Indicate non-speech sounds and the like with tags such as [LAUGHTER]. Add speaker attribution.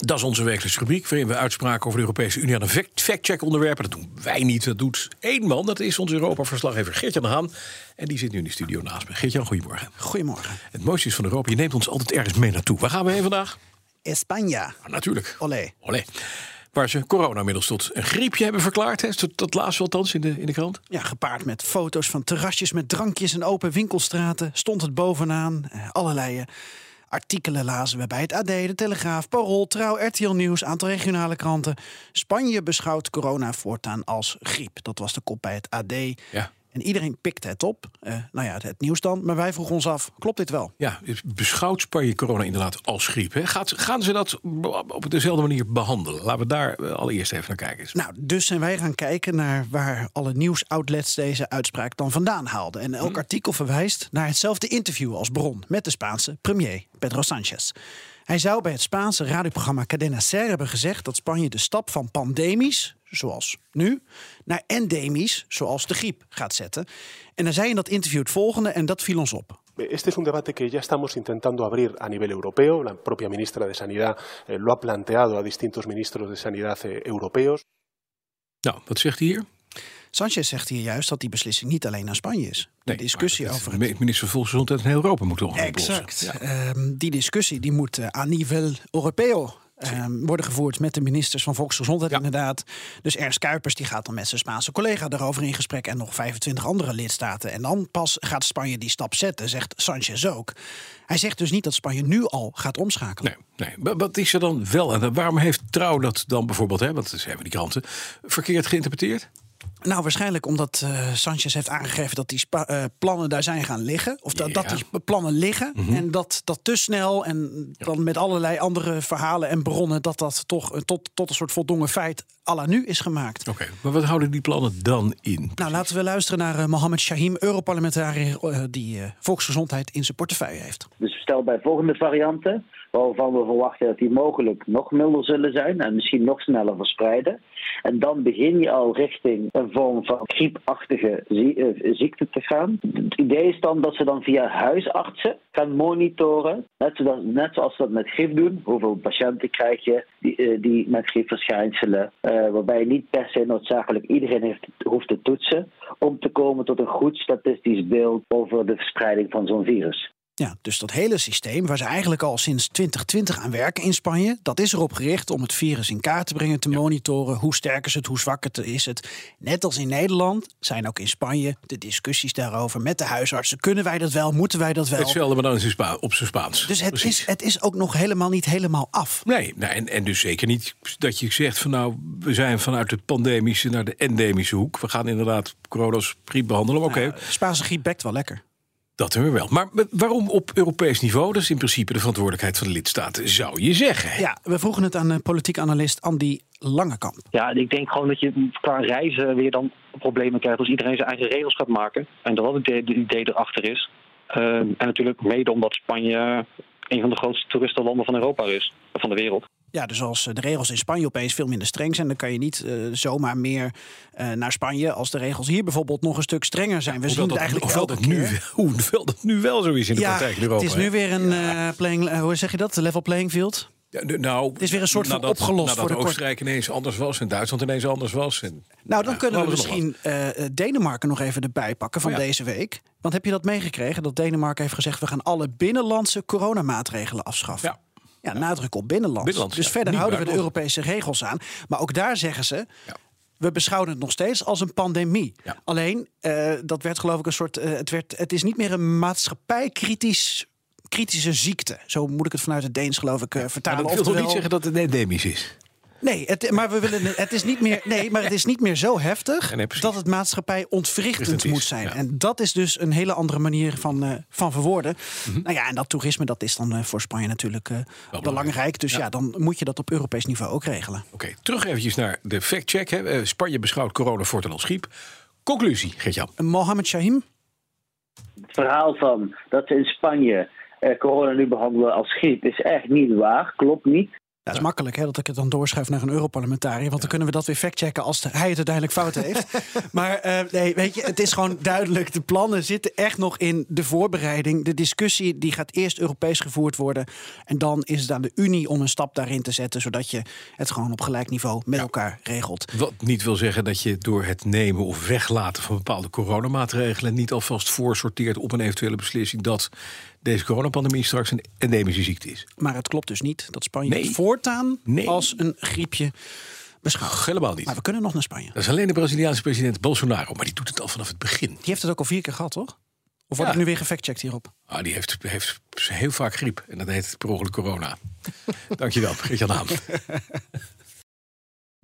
Speaker 1: Dat is onze wekelijkse rubriek, waarin we uitspraken over de Europese Unie aan een fact- fact-check onderwerpen. Dat doen wij niet, dat doet één man. Dat is onze Europa-verslaggever Geert-Jan de Haan. En die zit nu in de studio naast me. Geert-Jan, goedemorgen.
Speaker 2: Goedemorgen.
Speaker 1: Het mooiste is van Europa, je neemt ons altijd ergens mee naartoe. Waar gaan we heen vandaag?
Speaker 2: España.
Speaker 1: Nou, natuurlijk.
Speaker 2: Olé.
Speaker 1: Olé. Waar ze corona middels tot een griepje hebben verklaard. Hè? Tot, tot laatst althans in de, in de krant.
Speaker 2: Ja, gepaard met foto's van terrasjes met drankjes en open winkelstraten stond het bovenaan. Eh, allerlei eh, artikelen lazen we bij het AD, de Telegraaf, Parool, Trouw, RTL Nieuws, aantal regionale kranten. Spanje beschouwt corona voortaan als griep. Dat was de kop bij het AD.
Speaker 1: Ja.
Speaker 2: En iedereen pikte het op. Eh, nou ja, het, het nieuws dan. Maar wij vroegen ons af, klopt dit wel?
Speaker 1: Ja, dus beschouwt Spanje corona inderdaad als griep. Hè? Gaat, gaan ze dat op dezelfde manier behandelen? Laten we daar eh, allereerst even naar kijken.
Speaker 2: Nou, dus zijn wij gaan kijken naar waar alle nieuwsoutlets deze uitspraak dan vandaan haalden. En
Speaker 1: Mhm.
Speaker 2: elk artikel verwijst naar hetzelfde interview als bron met de Spaanse premier Pedro Sanchez. Hij zou bij het Spaanse radioprogramma Cadena Ser hebben gezegd dat Spanje de stap van pandemisch, zoals nu, naar endemisch, zoals de griep, gaat zetten. En hij zei in dat interview het volgende en dat viel ons op.
Speaker 3: Este es un debate que ya estamos intentando abrir a nivel europeo. La propia ministra de Sanidad eh, lo ha planteado a distintos ministros de Sanidad eh, europeos.
Speaker 1: Nou, wat zegt hij hier?
Speaker 2: Sanchez zegt hier juist dat die beslissing niet alleen aan Spanje is. De
Speaker 1: Nee,
Speaker 2: discussie
Speaker 1: maar dat-
Speaker 2: over
Speaker 1: de minister van Volksgezondheid in heel Europa moet toch
Speaker 2: Exact. Ehm, die discussie die moet eh à niveau europeo ehm, worden gevoerd met de ministers van Volksgezondheid,
Speaker 1: Ja.
Speaker 2: inderdaad. Dus Ernst Kuipers die gaat dan met zijn Spaanse collega daarover in gesprek en nog 25 andere lidstaten. En dan pas gaat Spanje die stap zetten, zegt Sanchez ook. Hij zegt dus niet dat Spanje nu al gaat omschakelen.
Speaker 1: Nee, nee. Maar wat is er dan wel? En waarom heeft Trouw dat dan bijvoorbeeld, hè, want dat hebben die kranten, verkeerd geïnterpreteerd?
Speaker 2: Nou, waarschijnlijk omdat eh, Sanchez heeft aangegeven dat die spa- eh, plannen daar zijn gaan liggen. Of dat, dat
Speaker 1: Ja.
Speaker 2: die plannen liggen. En dat dat te snel en dan met allerlei andere verhalen en bronnen... dat dat toch eh, tot, tot een soort voldongen feit à la nu is gemaakt.
Speaker 1: Oké, maar wat houden die plannen dan in?
Speaker 2: Nou, laten we luisteren naar eh, Mohammed Shahim, Europarlementariër... eh, die eh, volksgezondheid in zijn portefeuille heeft.
Speaker 4: Dus stel bij volgende varianten, waarvan we verwachten dat die mogelijk nog milder zullen zijn en misschien nog sneller verspreiden. En dan begin je al richting een vorm van griepachtige zie- eh, ziekte te gaan. Het idee is dan dat ze dan via huisartsen gaan monitoren, net zoals, net zoals ze dat met griep doen. Hoeveel patiënten krijg je die, eh, die met griepverschijnselen, eh, waarbij je niet per se noodzakelijk iedereen heeft, hoeft te toetsen, om te komen tot een goed statistisch beeld over de verspreiding van zo'n virus.
Speaker 2: Ja, dus dat hele systeem waar ze eigenlijk al sinds 2020 aan werken in Spanje, dat is erop gericht om het virus in kaart te brengen, te monitoren. Hoe sterk is het, hoe zwak het is het. Net als in Nederland zijn ook in Spanje de discussies daarover met de huisartsen. Kunnen wij dat wel? Moeten wij dat wel?
Speaker 1: Hetzelfde, maar dan in zijn Spa- op zijn Spaans.
Speaker 2: Dus het
Speaker 1: Precies.
Speaker 2: is, het is ook nog helemaal niet helemaal af.
Speaker 1: Nee, nou, en, en dus zeker niet dat je zegt van nou, we zijn vanuit de pandemische naar de endemische hoek. We gaan inderdaad corona's griep behandelen. maar Oké,
Speaker 2: Spaanse griep Nou, bekt wel lekker.
Speaker 1: dat hebben we wel. Maar waarom op Europees niveau? Dat is in principe de verantwoordelijkheid van de lidstaten, zou je zeggen.
Speaker 2: Ja, we vroegen het aan eh, politiek analist Andy Langekamp.
Speaker 5: Ja, en ik denk gewoon dat je qua reizen weer dan problemen krijgt als iedereen zijn eigen regels gaat maken. En dat dat het idee- het idee erachter is. Ehm, en natuurlijk mede omdat Spanje een van de grootste toeristenlanden van Europa is, van de wereld.
Speaker 2: Ja, dus als eh, de regels in Spanje opeens veel minder streng zijn, dan kan je niet eh, zomaar meer eh, naar Spanje als de regels hier bijvoorbeeld nog een stuk strenger zijn. We zien
Speaker 1: Hoewel
Speaker 2: het
Speaker 1: dat, hoewel
Speaker 2: eigenlijk elke
Speaker 1: dat nu,
Speaker 2: keer.
Speaker 1: [LAUGHS] hoewel dat nu wel zo is in de
Speaker 2: ja,
Speaker 1: praktijk in Europa.
Speaker 2: het is nu
Speaker 1: hè?
Speaker 2: weer een eh, playing, eh, hoe zeg je dat? Level playing field.
Speaker 1: Ja, de- nou,
Speaker 2: is weer een soort van opgelost
Speaker 1: nadat
Speaker 2: voor de kort-
Speaker 1: Oostenrijk ineens anders was en Duitsland ineens anders was. En,
Speaker 2: Nou, dan
Speaker 1: ja,
Speaker 2: kunnen we
Speaker 1: alles nog
Speaker 2: misschien eh, eh, Denemarken nog even erbij pakken van
Speaker 1: Oh ja.
Speaker 2: deze week. Want heb je dat meegekregen dat Denemarken heeft gezegd: we gaan alle binnenlandse coronamaatregelen afschaffen?
Speaker 1: Ja.
Speaker 2: Ja, nadruk op binnenland.
Speaker 1: Binnenlands,
Speaker 2: dus
Speaker 1: ja.
Speaker 2: verder
Speaker 1: Niet
Speaker 2: houden we de
Speaker 1: buitenland.
Speaker 2: Europese regels aan. Maar ook daar zeggen ze.
Speaker 1: Ja.
Speaker 2: We beschouwen het nog steeds als een pandemie.
Speaker 1: Ja.
Speaker 2: Alleen, eh, dat werd geloof ik een soort. eh, het, werd, het is niet meer een maatschappijkritisch kritische ziekte. Zo moet ik het vanuit het Deens geloof ik eh,
Speaker 1: Maar
Speaker 2: vertalen.
Speaker 1: dat wil toch niet
Speaker 2: Oftewel-
Speaker 1: zeggen dat het endemisch is?
Speaker 2: Nee, het, maar we willen, het is niet
Speaker 1: [LAUGHS]
Speaker 2: meer, nee, maar het is niet meer zo heftig
Speaker 1: Ja, nee, precies.
Speaker 2: dat het maatschappij ontwrichtend
Speaker 1: Ontwrichtend is,
Speaker 2: moet zijn.
Speaker 1: ja.
Speaker 2: En dat is dus een hele andere manier van, eh, van verwoorden.
Speaker 1: Mhm.
Speaker 2: Nou ja, en dat toerisme dat is dan eh, voor Spanje natuurlijk eh, belangrijk. Dus ja. dan moet je dat op Europees niveau ook regelen.
Speaker 1: Oké, terug eventjes naar de fact-check. hè. Eh, Spanje beschouwt corona voortaan als griep. Conclusie, Gert-Jan.
Speaker 2: En Mohammed Shahim,
Speaker 4: het verhaal van dat ze in Spanje eh, corona nu behandelen als griep is echt niet waar. Klopt niet.
Speaker 2: dat is makkelijk hè, dat ik het dan doorschuif naar een Europarlementariër. Want dan kunnen we dat weer factchecken als de- hij het uiteindelijk fout
Speaker 1: [LAUGHS]
Speaker 2: heeft. maar eh, nee, weet je, het is gewoon duidelijk. De plannen zitten echt nog in de voorbereiding. De discussie die gaat eerst Europees gevoerd worden. En dan is het aan de Unie om een stap daarin te zetten. Zodat je het gewoon op gelijk niveau met elkaar regelt.
Speaker 1: Wat niet wil zeggen dat je door het nemen of weglaten van bepaalde coronamaatregelen niet alvast voorsorteert op een eventuele beslissing dat deze coronapandemie straks een endemische ziekte is.
Speaker 2: Maar het klopt dus niet dat Spanje
Speaker 1: Nee.
Speaker 2: het voortaan
Speaker 1: Nee.
Speaker 2: als een griepje beschouwt.
Speaker 1: Helemaal niet.
Speaker 2: Maar we kunnen nog naar Spanje.
Speaker 1: Dat is alleen de Braziliaanse president Bolsonaro, maar die doet het al vanaf het begin.
Speaker 2: Die heeft het ook al vier keer gehad, toch? Of word
Speaker 1: Ja.
Speaker 2: ik nu weer gefactcheckt hierop?
Speaker 1: Ah, die heeft, heeft heel vaak griep en dat heet per ongeluk corona. Dankjewel, Gert-Jan Haan.